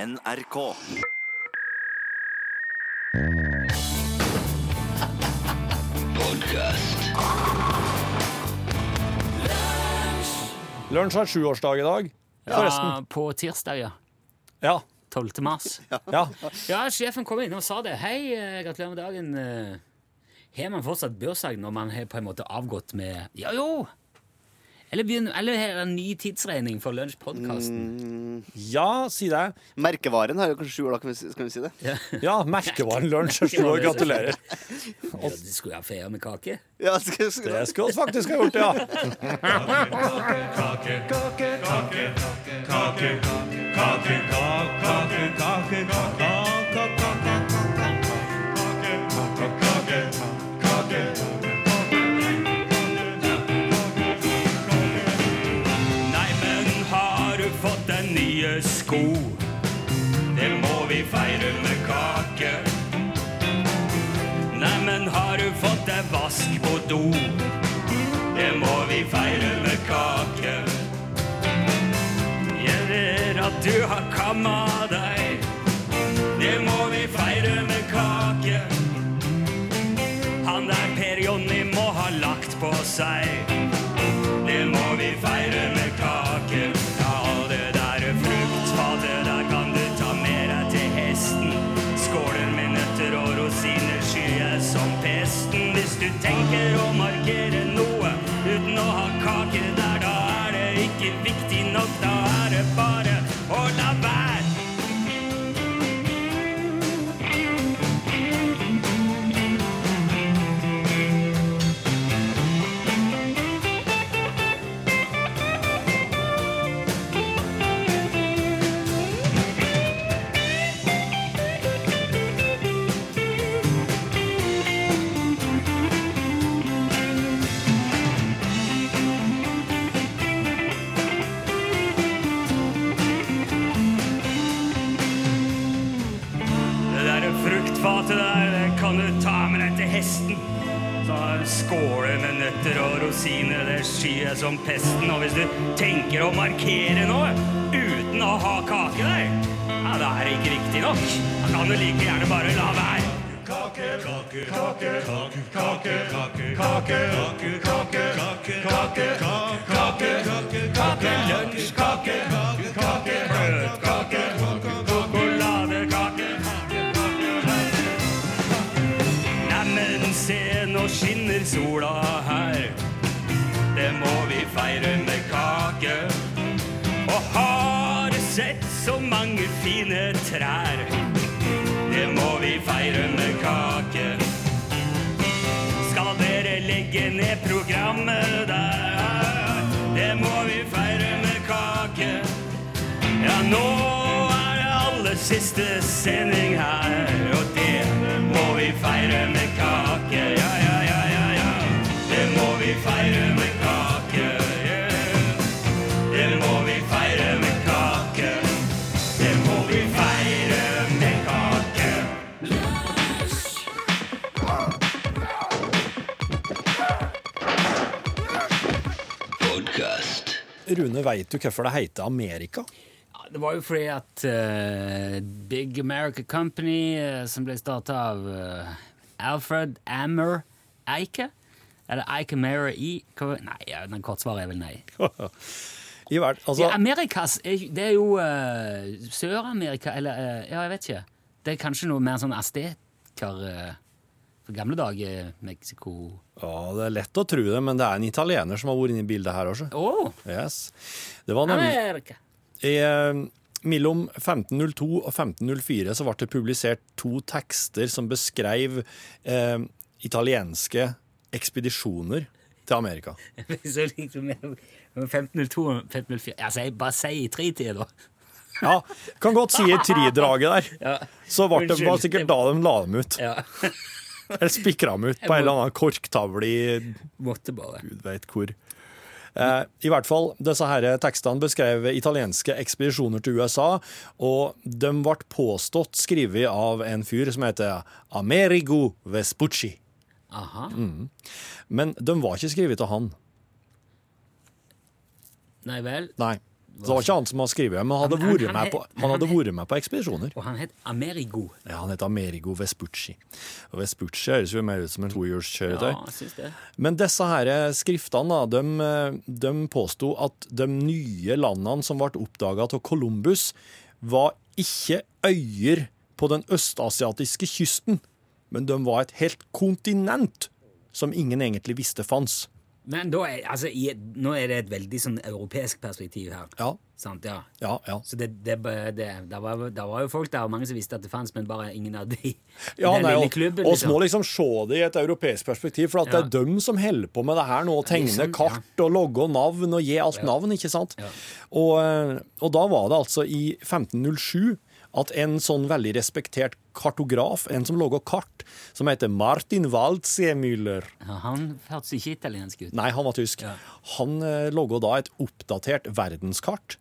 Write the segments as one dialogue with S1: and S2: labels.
S1: NRK.
S2: Lunsj har sjuårsdag i dag.
S3: Ja, på tirsdag, ja.
S2: Ja.
S3: 12. mars.
S2: ja.
S3: Ja, sjefen kom inn og sa det. Hei, eh, gratulerer med dagen. eh, Har man fortsatt bursdag når man har på en måte avgått med Ja, jo! Eller, begynner, eller har det en ny tidsregning for lunsjpodkasten?
S2: ja si det.
S4: Merkevaren har jo kanskje sju år, da, kan vi si- skal vi si det?
S2: Ja, merkevaren lunsj er sju år. Gratulerer.
S3: Ja, det skulle jeg ha feia med kake?
S4: Ja, skal, skal,
S2: Det skulle vi faktisk ha gjort, ja.
S5: Nei, men har du fått deg nye sko? Det må vi feire med kake. Nei, men har du fått deg vask på do? Det må vi feire med kake. Eller at du har kamma deg. Det må vi feire med kake. Han der Per Jonny må ha lagt på seg. Det må vi feire med kake. Ja, all det der er frukt, all det der kan du ta med deg til hesten. Skåler med nøtter og rosiner skyer som pesten. Hvis du tenker å markere noe uten å ha kake der, da er det ikke viktig nok. Da er det bare å la være. Det der fruktfatet der, det kan du ta med deg til hesten. Så har du skåler med nøtter og rosiner, det skyer som pesten. Og hvis du tenker å markere noe uten å ha kake der, ja, da er det ikke riktig nok. Da kan du like gjerne bare la være. Kake, kake, kake, kake, kake, kake, kake, kake, kake, kake, kake, kake, kake, kake, lunsjkake, kake, bløtkake, sjokoladekake. Neimen, se, nå skinner sola her. Det må vi feire med kake. Og har du sett så mange fine trær? Det må vi feire med kake. Skal dere legge ned programmet der? Det må vi feire med kake. Ja, nå er det aller siste sending her, og det må vi feire med kake. Ja, ja, ja, ja, ja. Det må vi feire med kake. Yeah. Det må vi feire med kake. Det må vi feire med kake.
S2: Rune, veit du hvorfor det heter Amerika?
S3: Ja, det var jo fordi at eh, Big America Company, eh, som ble starta av eh, Alfred Ammer Eike Eller Eike Mara E hva- Nei, ja, den kortsvaret er vel nei.
S2: I verden, altså,
S3: Ja, Amerikas er, jo- Det er jo eh, Sør-Amerika, eller eh, Ja, jeg vet ikke. Det er kanskje noe mer sånn asteker eh, For gamle dager Mexico Å!
S2: ja, det er lett å tro det, men det er en italiener som har vært inne i bildet her også. Yes. Det var nemlig...
S3: Amerika!
S2: I, eh, mellom 1502 og 1504 så ble det publisert to tekster som beskrev eh, italienske ekspedisjoner til Amerika.
S3: Så liksom 1502 og 1504 Altså, jeg bare sier tre til, da.
S2: Ja, kan godt si i tridraget der.
S3: Ja.
S2: Så ble det
S3: Unnskyld.
S2: var sikkert da de la dem ut.
S3: Ja.
S2: Eller spikra dem ut på en eller annen korktavle i
S3: Måtte bare.
S2: Gud veit hvor. Eh, I hvert fall, disse her tekstene beskrev italienske ekspedisjoner til USA, og de ble påstått skrevet av en fyr som heter Amerigo Vespucci.
S3: Aha.
S2: Men de var ikke skrevet av han.
S3: Nei vel.
S2: Nei. Så det var ikke han som hadde skrevet, men han hadde
S3: Han-
S2: vært
S3: han-
S2: med på, han hadde vært med på ekspedisjoner.
S3: Og han het Amerigo.
S2: Ja, han heter Amerigo Vespucci. Og Vespucci høres jo mer ut som en tohjulskjøretøy.
S3: Ja, jeg syns det.
S2: Men disse her eh, skriftene da, de, eh, de påsto at de nye landene som ble oppdaga av Columbus, var ikke øyer på den østasiatiske kysten, men de var et helt kontinent som ingen egentlig visste fantes.
S3: Men da er, altså, i, et- nå er det et veldig sånn europeisk perspektiv her.
S2: Ja,
S3: Sant, ja.
S2: ja, ja.
S3: Så det, det, det, der, var, der var jo folk der, og mange som visste at det fantes, men bare ingen av de i
S2: Ja,
S3: den
S2: nei,
S3: lille
S2: og,
S3: klubben.
S2: og
S3: liksom.
S2: må liksom se det i et europeisk perspektiv, for at det er
S3: Ja.
S2: dem som holder på med det her nå, og tegner
S3: liksom,
S2: kart og logge og navn og gi alt navn, ikke sant?
S3: Ja.
S2: Og, eh, og da var det altså i 1507 at en sånn veldig respektert kartograf, en som laga kart, som heter Martin Waldseemüller
S3: Ja, han hørtes ikke italiensk ut.
S2: Nei, han var tysk.
S3: Ja.
S2: Han eh, laga da et oppdatert verdenskart.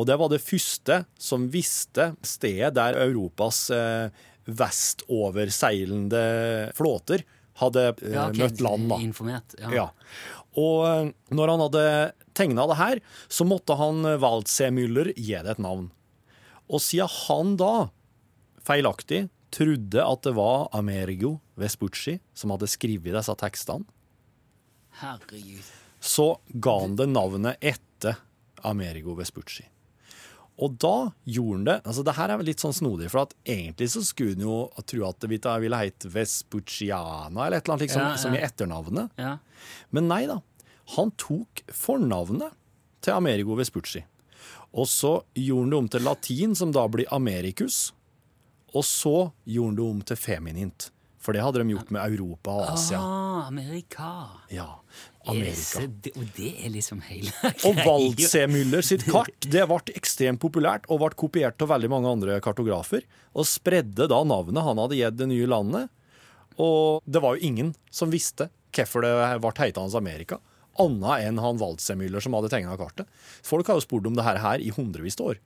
S2: Og det var det første som visste stedet der Europas eh, vestoverseilende flåter hadde eh,
S3: Ja, ok,
S2: møtt land, da.
S3: Informert. Ja.
S2: Ja. Og eh, når han hadde tegna det her, så måtte han eh, Waldseemüller gi det et navn. Og siden han da feilaktig trodde at det var Amerigo Vespucci som hadde skrevet disse tekstene,
S3: Herregud.
S2: så ga han det navnet etter Amerigo Vespucci. Og da gjorde han det altså Det her er litt sånn snodig, for at egentlig så skulle han jo tro at det ville- ville hett Vespucciana eller et eller annet, liksom,
S3: Ja, ja.
S2: som i etternavnet.
S3: Ja.
S2: Men nei da. Han tok fornavnet til Amerigo Vespucci. Og så gjorde han det om til latin, som da blir Americus. Og så gjorde han det om til feminint. For det hadde de gjort med Europa og Asia.
S3: Ah, Amerika.
S2: Ja,
S3: Yes,
S2: Amerika.
S3: det, og det er liksom hele
S2: Og Waldseemüller sitt kart det ble ekstremt populært og ble kopiert av veldig mange andre kartografer. Og spredde da navnet han hadde gitt det nye landet. Og det var jo ingen som visste hvorfor det ble heita hans Amerika, annet enn han Waldseemüller som hadde tegna kartet. Folk har jo spurt om det her, her i hundrevis av år.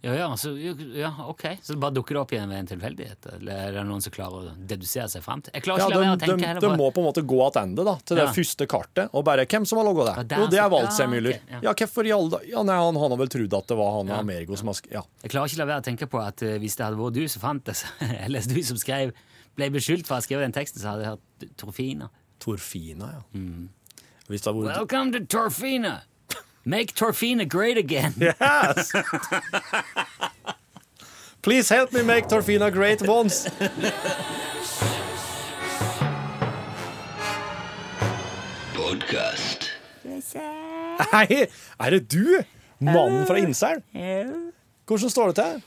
S3: Ja, ja, så, ja, ok. Så det bare dukker det opp igjen ved en tilfeldighet? Eller er det noen som klarer å dedusere seg fram til Jeg klarer
S2: Ja,
S3: ikke
S2: de,
S3: å la være å
S2: de,
S3: tenke heller
S2: de
S3: på
S2: må på en måte gå tilbake da, til det
S3: Ja.
S2: første kartet og bare Hvem som har logga
S3: Ja,
S2: det?
S3: der,
S2: Jo, det er
S3: ja,
S2: Waldseemüller.
S3: ok, ja.
S2: Ja, hvorfor i alle dager Ja, nei, han, han har vel trodd at det var han og
S3: Ja,
S2: Amerigo som har sk- Ja.
S3: Jeg klarer ikke la være å tenke på at eh, hvis det hadde vært du som fant det, så- eller du som skrev, ble beskyldt for å ha skrevet den teksten, så hadde jeg hørt Torfina.
S2: Torfina, ja. Hvis det har vært
S3: Welcome to Torfina! Make Torfina great again!
S2: Yes! Please help me make Torfina great once.
S5: Podcast.
S2: Nei, er det du? Mannen fra Innsel? Hvordan står det til?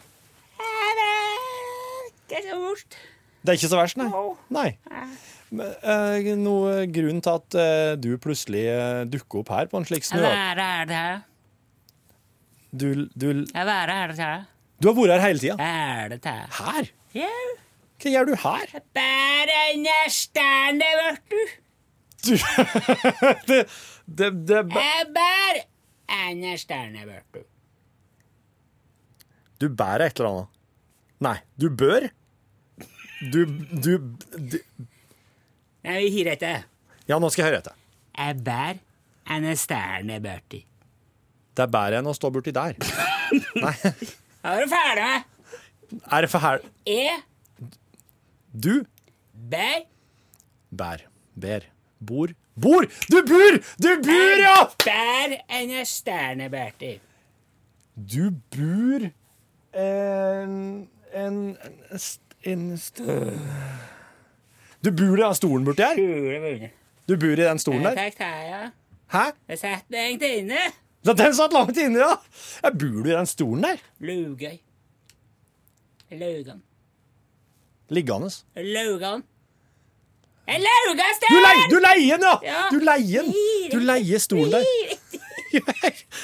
S2: Det er ikke så verst, nei. nei. Men, eh, noe grunn til at eh, du plutselig eh, dukker opp her på en slik snø... Du, du, du har vært her hele tida. Her? Hva gjør du her?
S3: Bare nærstående, vet du.
S2: Du, det, det, det,
S3: Jeg bare nærstående, vet du.
S2: du bærer et eller annet. Nei, du bør. Du, du, du
S3: Nei, vi hirer etter.
S2: Ja, nå skal jeg høre etter.
S3: Jeg bare nærstående, vet du.
S2: Det er bedre enn å stå borti der.
S3: Er du ferdig med?
S2: Er det for her
S3: Jeg
S2: Du
S3: bare
S2: bær. Ber. Bor. Bor! Du bor! Du bor, ja!
S3: bare nærstående, vet du.
S2: Du bor en En, en, st- en stø... Du bor i den stolen borti her?
S3: Gule munner.
S2: Du bor i den stolen der?
S3: Takk, Taja.
S2: Hæ?
S3: Jeg satt meg egentlig inne.
S2: Ja, Den satt langt inne, ja! ja! Bor du i den stolen der?
S3: Lugøy. Lugan.
S2: Liggende.
S3: Lugan. Jeg luga
S2: Du,
S3: sted!
S2: lei, du leier den, ja!
S3: Ja.
S2: Du leier den. Du leier stolen der. Jeg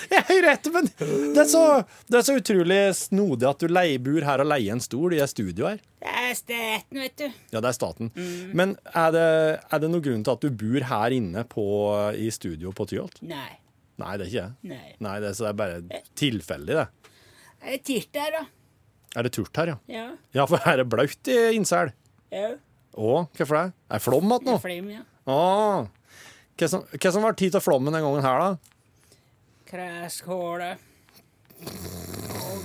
S2: jeg er rett, men det er, så, det er så utrolig snodig at du leier, bor her og leier en stol i et studio her.
S3: Det er staten, vet du.
S2: Ja, det er staten. Men er det, er det noen grunn til at du bor her inne på, i studio på Tyholt?
S3: Nei.
S2: Nei, det er ikke det.
S3: Nei.
S2: Nei, det, er- så det er bare tilfeldig, det.
S3: Er det tirt der, da?
S2: Er det turt her, ja?
S3: Ja.
S2: Ja, for her er det blaut i Innsel.
S3: Jau.
S2: Å, hvorfor det? Er det flom igjen nå?
S3: Flim, ja.
S2: Å. Hva som, hva som var tid til flommen den gangen her, da?
S3: Kraskhåle.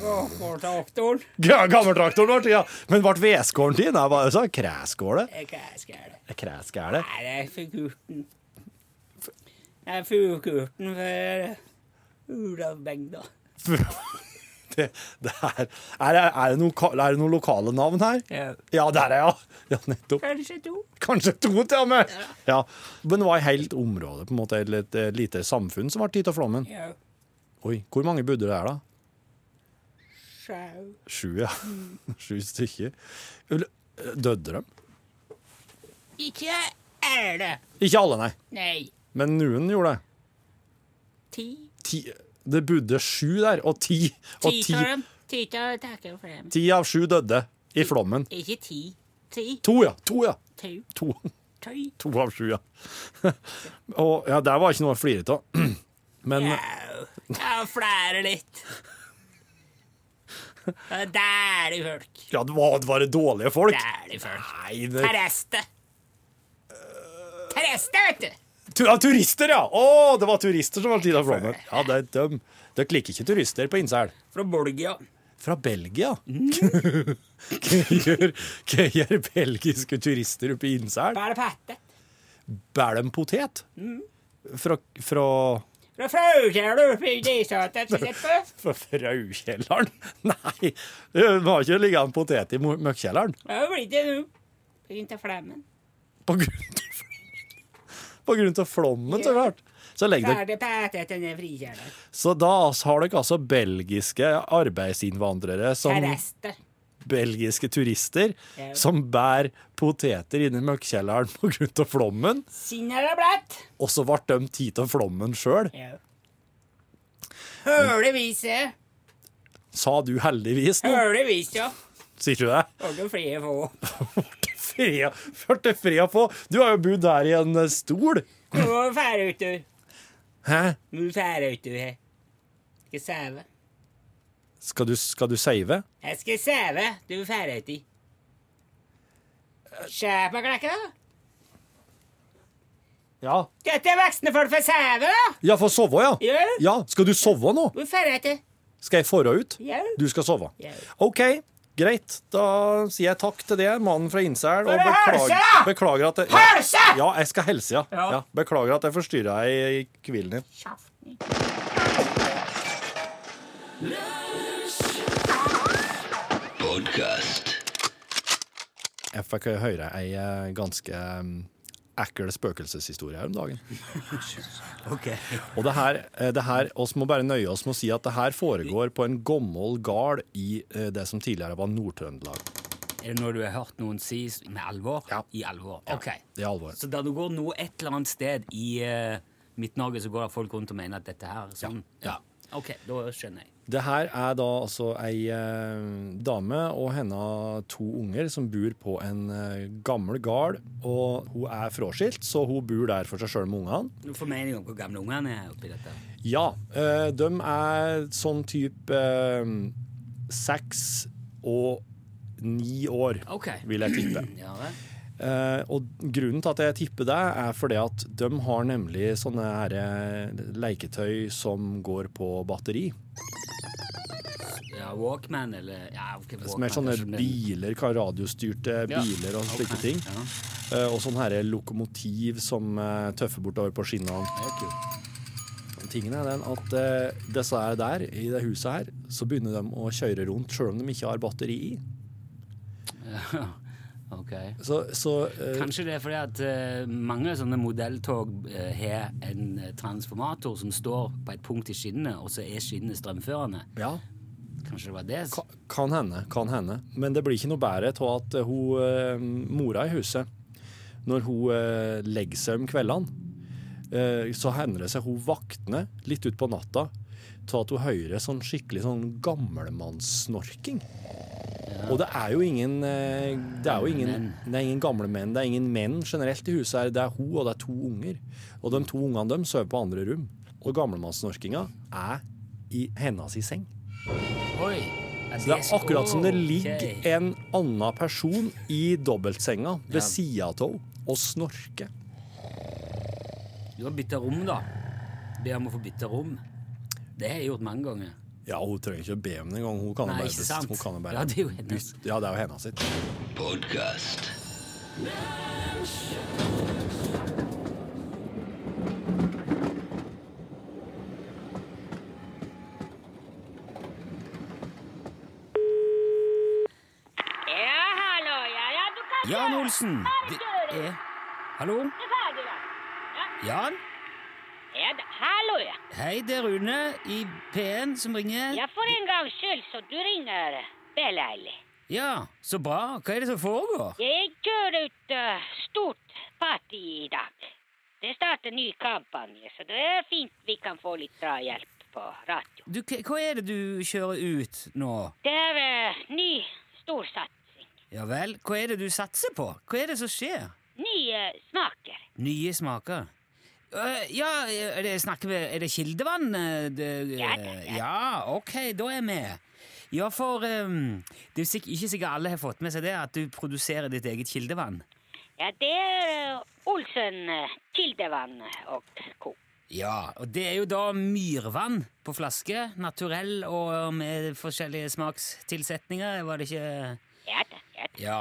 S1: Gårdtraktoren.
S2: Ja, Gammeltraktoren vår, ja. Men ble vedskåren din? Jeg bare sa kræskåle.
S1: Hva skal jeg det?
S2: Kræskæle.
S1: Nei, det er fugurten. Det er fugurten for Ulavbygda.
S2: Det, det er, er, det- er, det noen, ka- er det noen lokale navn her?
S1: Ja.
S2: Ja, der er jeg. Ja, nettopp.
S1: Kanskje to.
S2: Kanskje to til og med. Ja. Men det var et helt område, på en måte, eller et, eh, lite samfunn som ble tatt av flommen.
S1: Ja.
S2: Oi, hvor mange bodde det der da?
S1: Sjau.
S2: Sju, ja.
S1: Mm.
S2: Sju stykker. Ul- Døde de?
S1: Ikke er det.
S2: Ikke alle, nei.
S1: Nei.
S2: Men noen gjorde det.
S1: Ti.
S2: Ti, det bodde sju der, og ti. Og
S1: Ti
S2: ti,
S1: av dem. Ti av takker for dem.
S2: ti av sju døde i flommen.
S1: Ikke ti. Ti.
S2: To, ja. To, ja.
S1: To.
S2: To.
S1: Tøy.
S2: To av sju, ja. Og ja, der var ikke noe å flire av. Men
S1: Au. Ta og flære litt. Det er dælig folk.
S2: ja, det var, det var det dårlige folk.
S1: Dælig folk.
S2: Nei, det,
S1: Tereste. Tereste, vet du.
S2: tu, ja, turister, ja! Å, det var turister som var tida flommen. Ja, det er døm. Dere liker ikke turister på Innsel.
S1: Fra Bolgia.
S2: Fra Belgia? Hva gjør, hva gjør belgiske turister oppe i Innsel?
S1: Bare pette.
S2: Bærer de potet? Fra, fra,
S1: Fra Fraukjell oppe i Disatet. Å
S2: fra fraukjelleren? Nei, det var ikke liggende potet i mo- møkkjelleren.
S1: blir det nå. Begynte flemmen.
S2: På grunn til På grunn til flommen, så klart. Så, legger dere-
S1: Ferdig pette etter den frikjelleren.
S2: så da har dere altså belgiske arbeidsinnvandrere som
S1: Tereste.
S2: belgiske turister
S1: Ja.
S2: som bærer poteter inni møkkjelleren på grunn til flommen,
S1: Sinna er blatt.
S2: og så ble de tid til flommen sjøl.
S1: Høle viset.
S2: Sa du heldigvis nå,
S1: Høle viset, ja.
S2: sier du det?
S1: Og det flere få.
S2: Fria, førte fria på. Du har jo bodd her i en eh, stol.
S1: Nå må vi fære ut, du.
S2: Hæ?
S1: Nå fære ut, du. her. Skal sæve.
S2: Skal du, skal du save?
S1: Jeg skal sæve. Du er ferdig i. Skjær på klekka.
S2: Ja.
S1: Dette er voksne folk for sæve, da.
S2: Ja, for å sove, ja?
S1: Ja.
S2: ja. Skal du sove nå?
S1: Du er ferdig i.
S2: Skal jeg forå ut?
S1: Ja.
S2: Du skal sove.
S1: Ja.
S2: OK, greit. Da sier jeg takk til det, mannen fra Innsel. Og
S1: det
S2: beklager,
S1: helse!
S2: beklager at jeg,
S1: Helse!
S2: Ja, jeg skal helse, ja. ja. beklager at jeg forstyrra deg i kvillen din.
S1: Kjaften.
S2: Jeg fikk høre ei eh, ganske mm, ekkel spøkelseshistorie her om dagen. Og det her, eh, det her, oss må bare nøye oss med å si at det her foregår på en gammel gard i eh, det som tidligere var Nord-Trøndelag.
S3: Er det noe du har hørt noen si s- med alvor?
S2: Ja.
S3: I alvor. Ok.
S2: Det er alvor.
S3: Så da du går nå et eller annet sted i eh, Midt-Norge, så går det folk rundt og mener at dette her er sånn?
S2: Ja.
S3: Ok, da skjønner jeg.
S2: Det her er da altså ei eh, dame og henne to unger som bor på en eh, gammel gard. Og hun er fraskilt, så hun bor der for seg sjøl med ungene.
S3: Du får mening om hvor gamle ungene er oppi dette.
S2: Ja, eh, de er sånn type eh, seks og ni år,
S3: Ok.
S2: vil jeg tippe.
S3: Ja, vel.
S2: Eh, og grunnen til at jeg tipper det, er fordi at de har nemlig sånne her eh, leketøy som går på batteri.
S3: ja Walkman eller ja, ok, Walkman,
S2: Mer sånne
S3: kanskje, men-
S2: biler, hva- radiostyrte
S3: Ja.
S2: biler og slike
S3: Ok,
S2: ting.
S3: Ja,
S2: Eh, Og sånn her lokomotiv som eh, tøffer bortover på skinnene.
S3: det er kult.
S2: Tingen er den at eh, disse her der, i det huset her, så begynner de å kjøre rundt sjøl om de ikke har batteri i.
S3: Ok.
S2: Så, så eh,
S3: Kanskje det er fordi at eh, mange sånne modelltog eh, har en eh, transformator som står på et punkt i skinnene, og så er skinnene strømførende.
S2: ja,
S3: Kanskje det var det?
S2: ka- kan hende, kan hende. Men det blir ikke noe bedre av at eh, hun, eh, mora i huset, når hun eh, legger seg om kveldene, eh, så hender det seg hun vakner litt utpå natta til at hun hører sånn skikkelig sånn gamlemannssnorking. Og det er jo ingen eh, Det er jo ingen, det er ingen gamle menn, det er ingen menn generelt i huset her. Det er hun, og det er to unger. Og de to ungene dem sover på andre rom. Og gamlemannssnorkinga er i hennes i seng.
S3: Oi!
S2: Så det er akkurat som det ligger
S3: Ok.
S2: en annen person i dobbeltsenga ved
S3: Ja.
S2: sida av henne og snorker.
S3: Du har bytta rom, da. Be om å få bytta rom. Det har jeg gjort mange ganger.
S2: Ja, hun trenger ikke å be om det engang. Hun kan jo
S3: Nei,
S2: bare,
S3: ikke sant?
S2: Hun kan jo bare
S3: Ja, det er jo hennes.
S2: byst- Ja, det er jo hennes sitt.
S6: Podcast.
S7: Ja, hallo, ja, ja, du kan
S3: Jan
S7: kjøre.
S3: Olsen!
S7: Her
S3: Det
S7: er døren.
S3: er Hallo?
S7: Det er ferdig, da. Ja,
S3: Jan?
S7: ja da. Hallo, ja.
S3: Hei, det er Rune i P1 som ringer.
S7: Ja, for en gangs skyld så du ringer. eh, Det er leilig.
S3: Ja, så bra. Hva er det som foregår?
S7: Jeg kjører ut eh, stort party i dag. Det starter ny kampanje, så det er fint vi kan få litt drahjelp på radio.
S3: Du, hva hva er det du kjører ut nå?
S7: Det er eh, ny storsatsing.
S3: Ja vel, hva er det du satser på? Hva er det som skjer?
S7: Nye eh, smaker.
S3: Nye smaker. Øh, ja, er det, snakker vi Er det kildevann? øh, Det,
S7: Ja, ja, ja.
S3: ja, ok, da er jeg med. Ja, for øhm, det er sikk- ikke sikkert alle har fått med seg det, at du produserer ditt eget kildevann.
S7: Ja, det er eh, Olsen eh, Kildevann og Co.
S3: Ja, og det er jo da myrvann på flaske. Naturell og med forskjellige smakstilsetninger, var det ikke
S7: Ja da, ja da.
S3: Ja.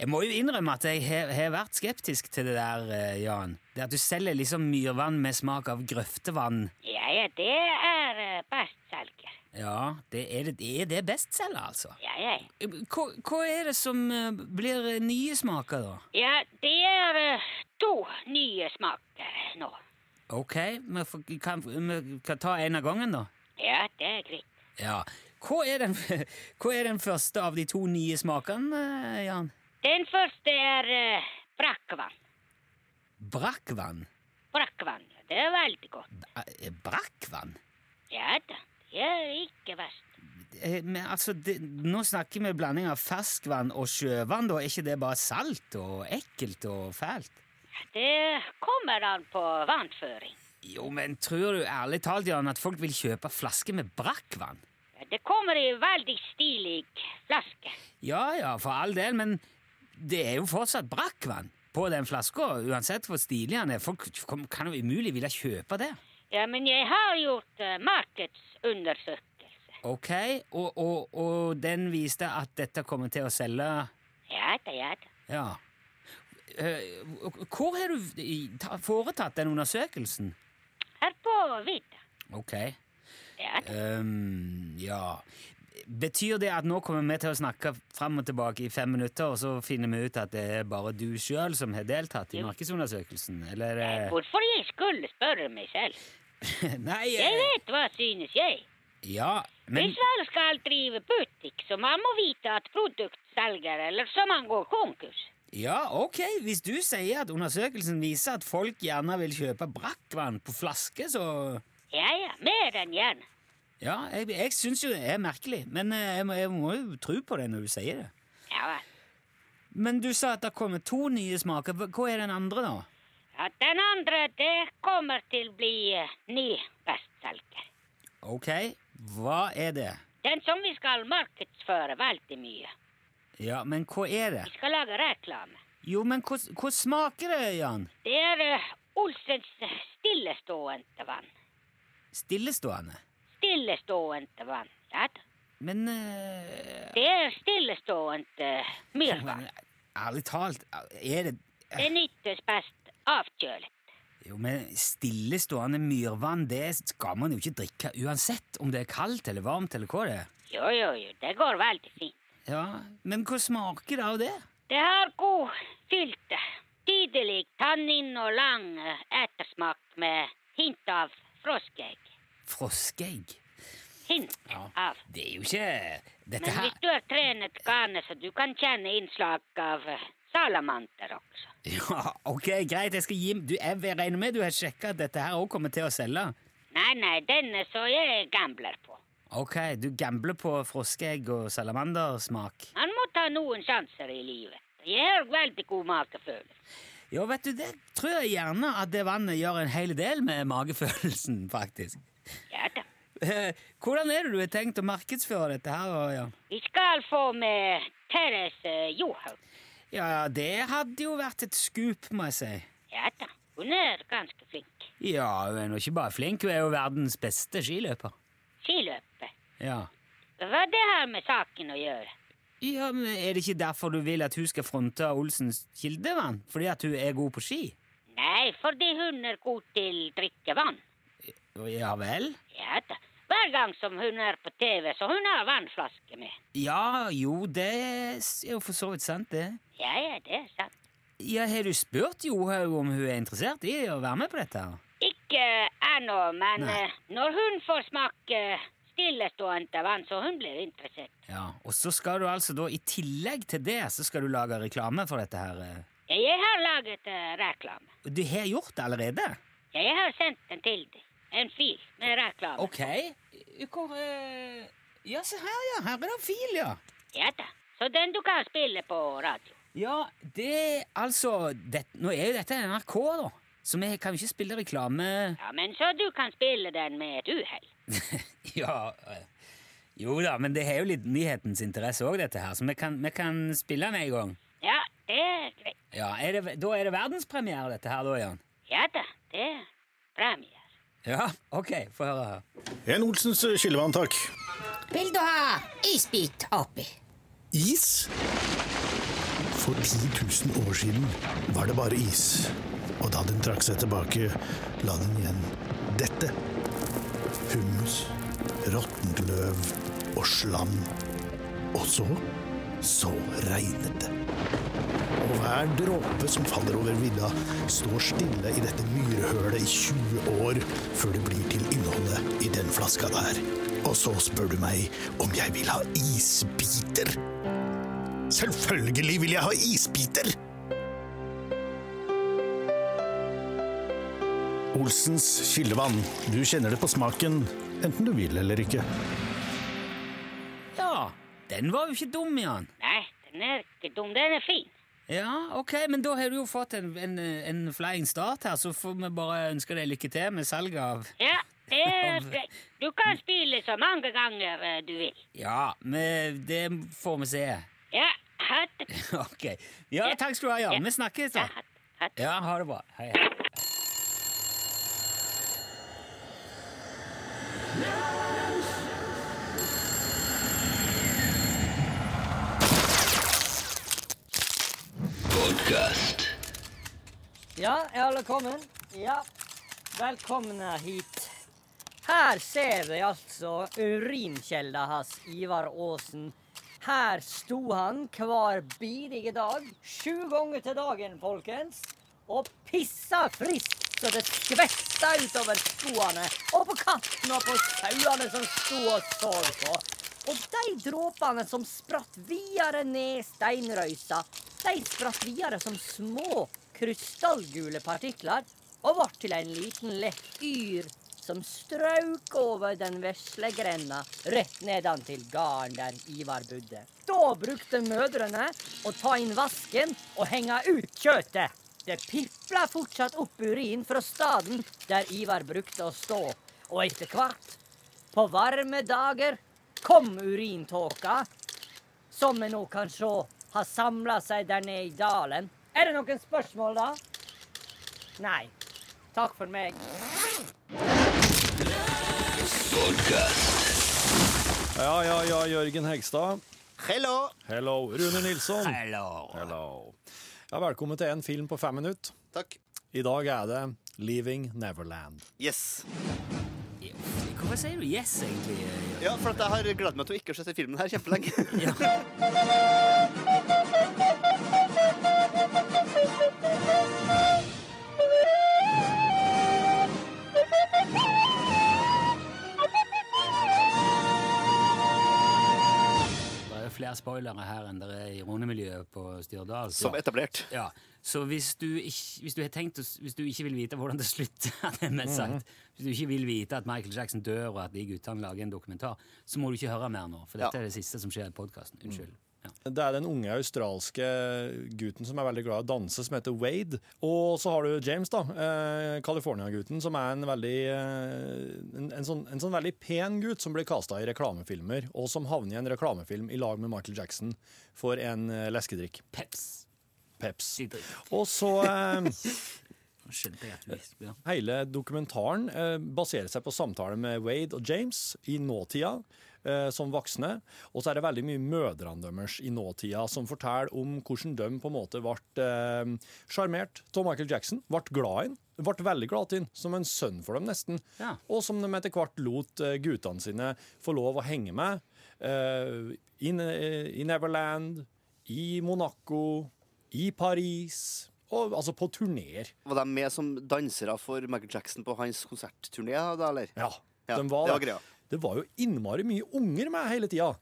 S3: Jeg må jo innrømme at jeg har har vært skeptisk til det der, eh, Jan. Det at du selger liksom myrvann med smak av grøftevann.
S7: Ja, ja, det er eh, bestselger.
S3: Ja, det er det, er det bestselger, altså.
S7: Ja, ja, ja.
S3: Hva, hva er det som eh, blir eh, nye smaker, da?
S7: Ja, det er eh, to nye smaker nå.
S3: Ok, vi får- kan, vi kan ta en av gangen, da.
S7: Ja, det er greit.
S3: Ja. Hva er den, hva er den første av de to nye smakene, eh, Jan?
S7: Den første er eh, brakkvann.
S3: Brakkvann?
S7: Brakkvann, det er veldig godt.
S3: Eh, Brakkvann?
S7: Ja da, det er ikke verst.
S3: Eh, Men altså, det, nå snakker vi blanding av ferskvann og sjøvann, da. Er ikke det bare salt og ekkelt og fælt?
S7: Det kommer an på vannføring.
S3: Jo, men tror du ærlig talt, Jan, at folk vil kjøpe flasker med brakkvann?
S7: Ja, Det kommer i veldig stilig flaske.
S3: Ja ja, for all del, men det er jo fortsatt brakkvann på den flaska, uansett hvor stilig han er. Folk kom- kan jo umulig ville kjøpe det.
S7: Ja, men jeg har gjort eh, markedsundersøkelse.
S3: Ok, og, og, og den viste at dette kommer til å selge
S7: Ja da, ja da.
S3: Ja. Eh, Hvor har du i- ta- foretatt den undersøkelsen?
S7: Her på vidda.
S3: Ok.
S7: Ja da.
S3: ehm, ja Betyr det at nå kommer vi til å snakke fram og tilbake i fem minutter, og så finner vi ut at det er bare du sjøl som har deltatt i markedsundersøkelsen? Eller eh,
S7: Hvorfor jeg skulle spørre meg selv?
S3: Nei,
S7: Jeg
S3: eh,
S7: vet hva synes jeg.
S3: ja, men
S7: Hvis man skal drive butikk, så man må vite at produkt selger, eller så man går konkurs.
S3: Ja, ok, hvis du sier at undersøkelsen viser at folk gjerne vil kjøpe brakkvann på flaske, så
S7: Ja, ja, mer enn gjerne.
S3: Ja, jeg, jeg syns jo det er merkelig, men eh, jeg må, jeg må jo tro på det når du sier det.
S7: Ja, vel.
S3: Men du sa at det kommer to nye smaker. Hva- Hva er den andre, da?
S7: ja, den andre, det kommer til å bli eh, ny bestselger.
S3: Ok, hva er det?
S7: Den som vi skal markedsføre veldig mye.
S3: Ja, men hva er det?
S7: Vi skal lage reklame.
S3: Jo, men hva, hva smaker det, Jan?
S7: Det er eh, Olsens stillestående vann.
S3: Stillestående.
S7: Stillestående vann, ja da.
S3: Men eh,
S7: Det er stillestående eh, myrvann.
S3: men, Ærlig talt, er det
S7: Det nyttes best avkjølet.
S3: Jo, men stillestående myrvann, det skal man jo ikke drikke uansett om det er kaldt eller varmt eller hva det er.
S7: Jo, jo, jo, det går veldig fint.
S3: Ja, men hva smaker det av det?
S7: Det har god fylte. Tydelig tannin og lang eh, ettersmak med hint av froskeegg.
S3: Froskeegg.
S7: Hint av.
S3: Det er jo ikke
S7: Men
S3: Dette
S7: hvis
S3: her
S7: du har trenet garnet, så du kan kjenne innslag av eh, salamander også.
S3: Ja, ok, greit, jeg skal gi du, Jeg regner med du har sjekka at dette her òg kommer til å selge.
S7: Nei, nei, denne så jeg gambler på.
S3: Ok, du gambler på froskeegg og salamandersmak.
S7: Man må ta noen sjanser i livet. Jeg har veldig god magefølelse.
S3: Ja, vet du, det tror jeg gjerne at det vannet gjør en hel del med magefølelsen, faktisk.
S7: Ja da.
S3: Eh, Hvordan er det du har tenkt å markedsføre dette her, da, Jan?
S7: Vi skal få med Therese Johaug.
S3: Ja, det hadde jo vært et skup, må jeg si.
S7: Ja da. Hun er ganske flink.
S3: Ja, hun er nå ikke bare flink, hun er jo verdens beste skiløper.
S7: Skiløpet.
S3: Ja.
S7: Hva har det her med saken å gjøre?
S3: ja, men Er det ikke derfor du vil at hun skal fronte Olsens kildevann? Fordi at hun er god på ski?
S7: Nei, fordi hun er god til drikkevann.
S3: Ja vel?
S7: Ja da. Hver gang som hun er på TV, så hun har vannflaske med.
S3: Ja, jo, det er jo for så vidt sant, det.
S7: Ja, ja, det er sant.
S3: Ja, Har du spurt Johaug om hun er interessert i å være med på dette? her?
S7: Ikke ennå, men
S3: Nei.
S7: eh, når hun får smake stillestående vann, så hun blir interessert.
S3: Ja, Og så skal du altså da, i tillegg til det, så skal du lage reklame for dette her. eh.
S7: Ja, Jeg har laget eh, reklame.
S3: Du har gjort det allerede?
S7: Ja, jeg har sendt den til deg. En fil med reklame.
S3: Ok. Hvor eh, Ja, se her, ja. Her er det en fil, ja.
S7: Ja da. Så den du kan spille på radio.
S3: Ja, det altså det, Nå er jo dette NRK, da. Så vi kan jo ikke spille reklame
S7: Ja, men så du kan spille den med et uhell.
S3: Ja eh, Jo da, men det har jo litt nyhetens interesse òg, dette her. Så vi kan, vi kan spille den en gang.
S7: Ja, det er greit.
S3: Ja, er det, Da er det verdenspremiere, dette her, da, Jan?
S7: Ja da, det er premier.
S3: Ja, OK. Få høre her.
S6: En Olsens skyllevann, takk.
S8: Vil du ha isbit oppi?
S6: Is? For 10 000 år siden var det bare is. Og da den trakk seg tilbake, la den igjen dette. Hummus, råttent løv og slam. Og så så regnet det. Og hver dråpe som faller over vidda, står stille i dette myrhølet i 20 år før det blir til innholdet i den flaska der. Og så spør du meg om jeg vil ha isbiter. Selvfølgelig vil jeg ha isbiter! Olsens kildevann. Du kjenner det på smaken, enten du vil eller ikke.
S3: Ja, den var jo ikke dum, Jan.
S7: Nei, den er ikke dum. Den er fin.
S3: Ja, ok, men da har du jo fått en, en, en flying start her, så får vi bare ønske deg lykke til med salget av
S7: Ja, det er greit. Du kan spille så mange ganger eh, du vil.
S3: Ja, men det får vi se.
S7: Ja, ha det.
S3: Ok. Ja, takk skal du ha, Jan. Vi snakkes, da.
S7: Ja, ha det. Ha det.
S3: Ja, ha det bra. Hei, hei.
S9: Ja, er alle kommet? Ja. Velkomne hit. Her ser vi altså urinkjelda hans, Ivar Aasen. Her sto han hver bidige dag, sju ganger til dagen, folkens, og pissa friskt så det skvetta utover skoene, og på katten og på sauene som sto og så på. Og de dråpene som spratt videre ned steinrøysa, de spratt videre som små krystallgule partikler og ble til en liten lektyr som strøk over den vesle grenda rett nedan til garden der Ivar bodde. Da brukte mødrene å ta inn vasken og henge ut kjøttet. Det pipla fortsatt opp urin fra staden der Ivar brukte å stå, og etter hvert, på varme dager, kom urintåka som vi nå kan se har samla seg der nede i dalen. Er det noen spørsmål, da? Nei. Takk for meg.
S2: Ja, ja, ja, Jørgen Hegstad.
S4: Hello!
S2: Hello, Rune Nilsson.
S3: Hallo.
S2: Hello. Ja, velkommen til en film på fem minutter.
S4: Takk.
S2: I dag er det Leaving Neverland.
S4: Yes.
S3: Hvorfor sier du yes, egentlig?
S4: Ja, for at jeg har gledet meg til å ikke se filmen her kjempelenge.
S3: Det er jo flere spoilere her enn det er i rundemiljøet på Styrdal.
S4: Som etablert.
S3: Ja, så hvis du, ikke, hvis, du har tenkt, å s- hvis du ikke vil vite hvordan det slutter, det er mest sagt,
S2: Mhm.
S3: hvis du ikke vil vite at Michael Jackson dør og at de guttene lager en dokumentar, så må du ikke høre mer nå, for dette
S4: Ja.
S3: er det siste som skjer i podkasten.
S2: Mm.
S3: Unnskyld. Ja.
S2: Det er den unge australske gutten som er veldig glad i å danse, som heter Wade. Og så har du James, da. eh, California-gutten, som er en veldig eh, en, en, sånn, en sånn veldig pen gutt som blir kasta i reklamefilmer, og som havner i en reklamefilm i lag med Michael Jackson for en eh, leskedrikk.
S3: Peps.
S2: Peps.
S3: Sidrik.
S2: Og så eh,
S3: Nå skjønte jeg at du visste. Ja.
S2: Hele dokumentaren eh, baserer seg på samtaler med Wade og James i nåtida. eh, som voksne. Og så er det veldig mye mødrene deres i nåtida som forteller om hvordan de på en måte ble eh, sjarmert av Michael Jackson, ble glad i han, ble veldig glad i han, som en sønn for dem nesten.
S3: Ja.
S2: Og som de etter hvert lot eh, guttene sine få lov å henge med. eh, i, Ne- I Neverland, i Monaco, i Paris, og altså på turneer.
S4: Var de med som dansere for Michael Jackson på hans konsertturné, da, eller?
S2: Ja,
S4: Ja,
S2: den var,
S4: det var
S2: det.
S4: greia.
S2: Det var jo innmari mye unger med hele tida.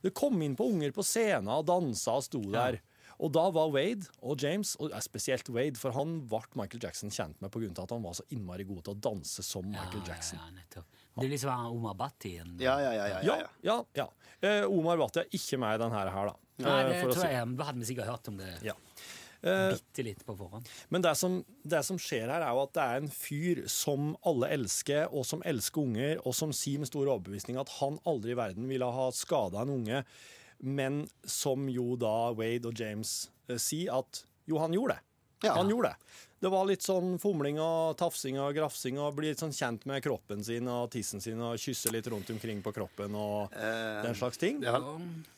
S2: Det kom inn på unger på scenen og dansa og sto der. Og da var Wade og James, og eh, spesielt Wade, for han ble Michael Jackson kjent med pga. at han var så innmari god til å danse som Michael Jackson.
S3: Ah, Ja, nettopp. Det er liksom han Omar Bhatti igjen.
S4: Ja, ja, ja. ja, ja,
S2: Ja,
S4: ja.
S2: ja, ja. Eh, Omar Wathi er ikke med i denne her, da.
S3: Nei,
S2: eh,
S3: det
S2: for å
S3: tror
S2: si-
S3: jeg Vi hadde vi sikkert hørt om det
S2: Ja.
S3: bitte litt på forhånd.
S2: Men det som, det som skjer her, er jo at det er en fyr som alle elsker, og som elsker unger, og som sier med stor overbevisning at han aldri i verden ville ha skada en unge, men som jo da Wade og James eh, sier at jo, han gjorde det.
S4: Ja.
S2: Han gjorde det. Det var litt sånn fomling og tafsing og grafsing og bli litt sånn kjent med kroppen sin og tissen sin og kysse litt rundt omkring på kroppen og den slags ting.
S4: Eh, Ja,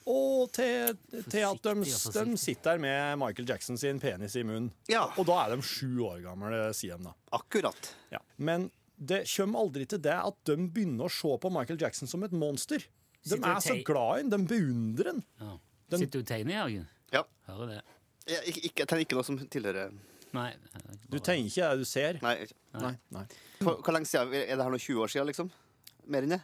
S2: Og til, til at de,
S3: Forsiktig og forsiktig.
S2: de sitter der med Michael Jackson sin penis i munnen.
S4: Ja.
S2: Og da er de sju år gamle, sier de da.
S4: akkurat.
S2: Ja. Men det kommer aldri til det at de begynner å se på Michael Jackson som et monster. De
S3: Sitter og
S2: er så
S3: tei-
S2: glad i ham, de beundrer ham.
S3: Ja.
S2: Den-
S3: Sitter du og tegner, Jørgen?
S4: Ja.
S3: Hører det.
S4: Jeg, ikke, ikke, jeg tenker ikke noe som tilhører
S3: Nei.
S2: Du tenker ikke det du ser.
S4: Nei. ikke.
S2: Nei. Nei.
S4: Hvor, hvor lenge siden er det her nå? 20 år siden, liksom? Mer enn det?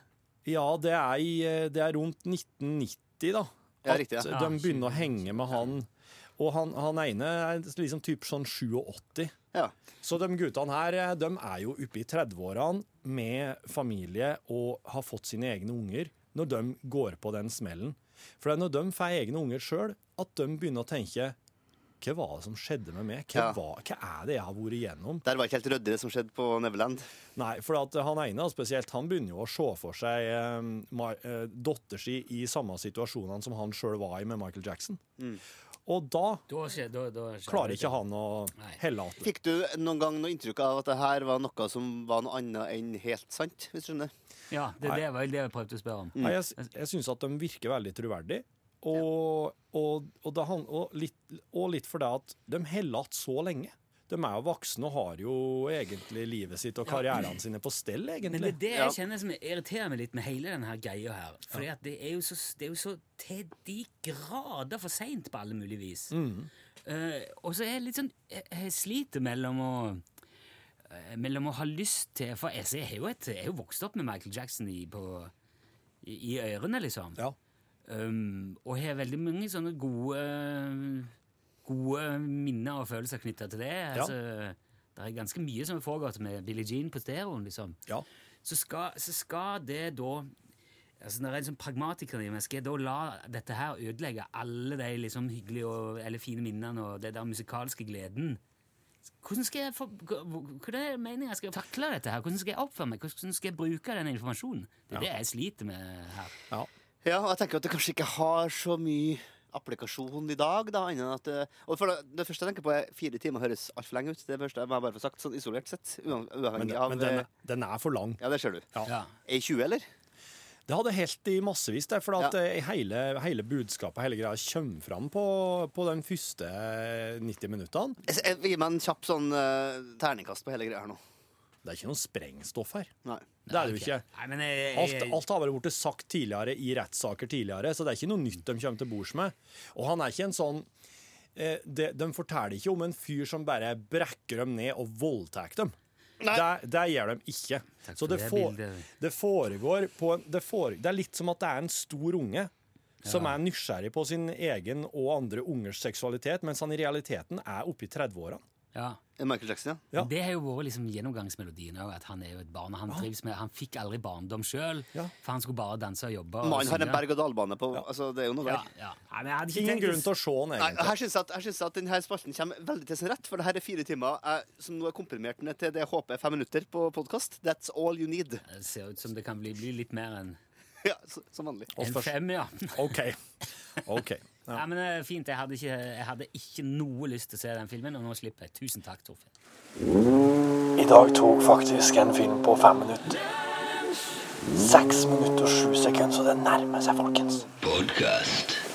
S2: Ja, det er, i, eh, det er rundt 1990, da.
S4: Ja, riktig, ja.
S2: At
S3: Ja,
S2: de begynner å henge med han. Og han, han ene er liksom typ sånn 87.
S4: Ja.
S2: Så de guttene her eh, de er jo oppe i 30-årene med familie og har fått sine egne unger når de går på den smellen. For det er når de får egne unger sjøl, at de begynner å tenke Hva var det som skjedde med meg?
S4: Ja.
S2: Hva, var, hva er det jeg har vært igjennom?
S4: Der var ikke helt røddere som skjedde på Neverland.
S2: Nei, for at han ene spesielt, han begynner jo å se for seg eh, Ma- eh, datter si i samme situasjonene som han sjøl var i med Michael Jackson. Og da
S3: Da skjer, da, da skjer
S2: klarer ikke han å
S3: Nei.
S2: helle att.
S4: Fikk du noen gang noe inntrykk av at det her var noe som var noe annet enn helt sant? Hvis du skjønner?
S3: Ja, det, det var jo det jeg prøvde å spørre om.
S2: Nei, jeg, s- jeg syns at de virker veldig troverdige. Og, og, og, det han, og, litt, og litt for det at de heller igjen så lenge. De er jo voksne og har jo egentlig livet sitt og karrieren sine på stell,
S3: Men det
S2: egentlig.
S3: er det
S4: Ja.
S3: jeg kjenner som irriterer meg litt med hele denne her greia her. For det, er jo så- det er jo så til de grader for seint på alle mulige vis. Eh, og så er jeg litt sånn Jeg, jeg sliter mellom å eh, mellom å ha lyst til For jeg, ser- jeg, er jo et, jeg er jo vokst opp med Michael Jackson i, på, i, i ørene, liksom.
S2: Ja.
S3: Um, og har veldig mange sånne gode Gode minner og følelser knytta til det. Altså, det er ganske mye som har foregått med Billie Jean på stereoen. liksom.
S2: Ja.
S3: Så, skal, så skal det da altså Når jeg er en sånn pragmatiker i meg, skal jeg da la dette her ødelegge alle de liksom hyggelige og, eller fine minnene og den der musikalske gleden? Hvordan skal jeg få, hvordan er meningen jeg skal takle dette her? Hvordan skal jeg oppføre meg? Hvordan skal jeg bruke den informasjonen? Det er det jeg sliter med her.
S2: Ja.
S4: Ja, og jeg tenker at det kanskje ikke har så mye applikasjon i dag, da, annet enn at det, og for det, det første jeg tenker på, er fire timer høres altfor lenge ut. Det første jeg må jeg bare få sagt, sånn isolert sett. uav-
S2: Men,
S4: Uavhengig
S2: den-
S4: av
S2: men den,
S4: eh,
S2: den er for lang.
S4: Ja, det ser du.
S3: Ja.
S4: Er 20, eller?
S2: Det hadde helt i massevis, det, for at
S4: Ja.
S2: eh, hele, hele budskapet hele greia kommer fram på, på de første 90 minuttene.
S4: Jeg- jeg- Gi meg en kjapp sånn eh, terningkast på hele greia her nå.
S2: Det er ikke noe sprengstoff her.
S4: Nei.
S2: Det er det jo ikke.
S3: Nei, men eh, jeg,
S2: Alt,
S3: jeg,
S2: alt har bare blitt sagt tidligere i rettssaker tidligere, så det er ikke noe nytt de kommer til bords med. Og han er ikke en sånn eh, de, de forteller ikke om en fyr som bare brekker dem ned og voldtar dem. Det, det gjør de ikke.
S3: Takk
S2: Så
S3: for
S2: det,
S3: det
S2: for,
S3: bildet.
S2: det foregår på en det, fore, det er litt som at det er en stor unge som er nysgjerrig på sin egen og andre ungers seksualitet, mens han i realiteten er oppe i 30-årene.
S3: ja.
S4: Michael Jackson, ja.
S2: Ja.
S3: Det har jo vært liksom gjennomgangsmelodien òg, at han er jo et barn. og Han trives med, han fikk aldri barndom sjøl,
S2: Ja.
S3: for han skulle bare danse og jobbe. og
S4: Mannen har en
S3: synge.
S4: berg-og-dal-bane på Altså, det er jo noe
S3: sånn, ja,
S4: der.
S3: ja. Nei, men jeg hadde ikke
S2: Ingen
S3: tenkt-
S2: grunn til å se han,
S4: Nei,
S2: egentlig.
S4: her synes jeg at, her synes jeg at denne spalten kommer veldig til sin rett, for det her er fire timer eh, som nå er komprimert ned til det jeg håper er fem minutter på podkast. That's all you need.
S3: Det ser ut som det kan bli, bli litt mer enn
S4: Ja, så, som vanlig.
S2: Og
S3: en
S2: først-
S3: fem, ja.
S2: OK. OK. Ja.
S3: Nei, men eh, Fint. Jeg hadde, ikke, jeg hadde ikke noe lyst til å se den filmen, og nå slipper jeg. Tusen takk, Torfinn.
S10: I dag tok faktisk en film på fem minutter.
S9: Seks minutter og sju sekunder, så det nærmer seg, folkens.
S11: Podcast.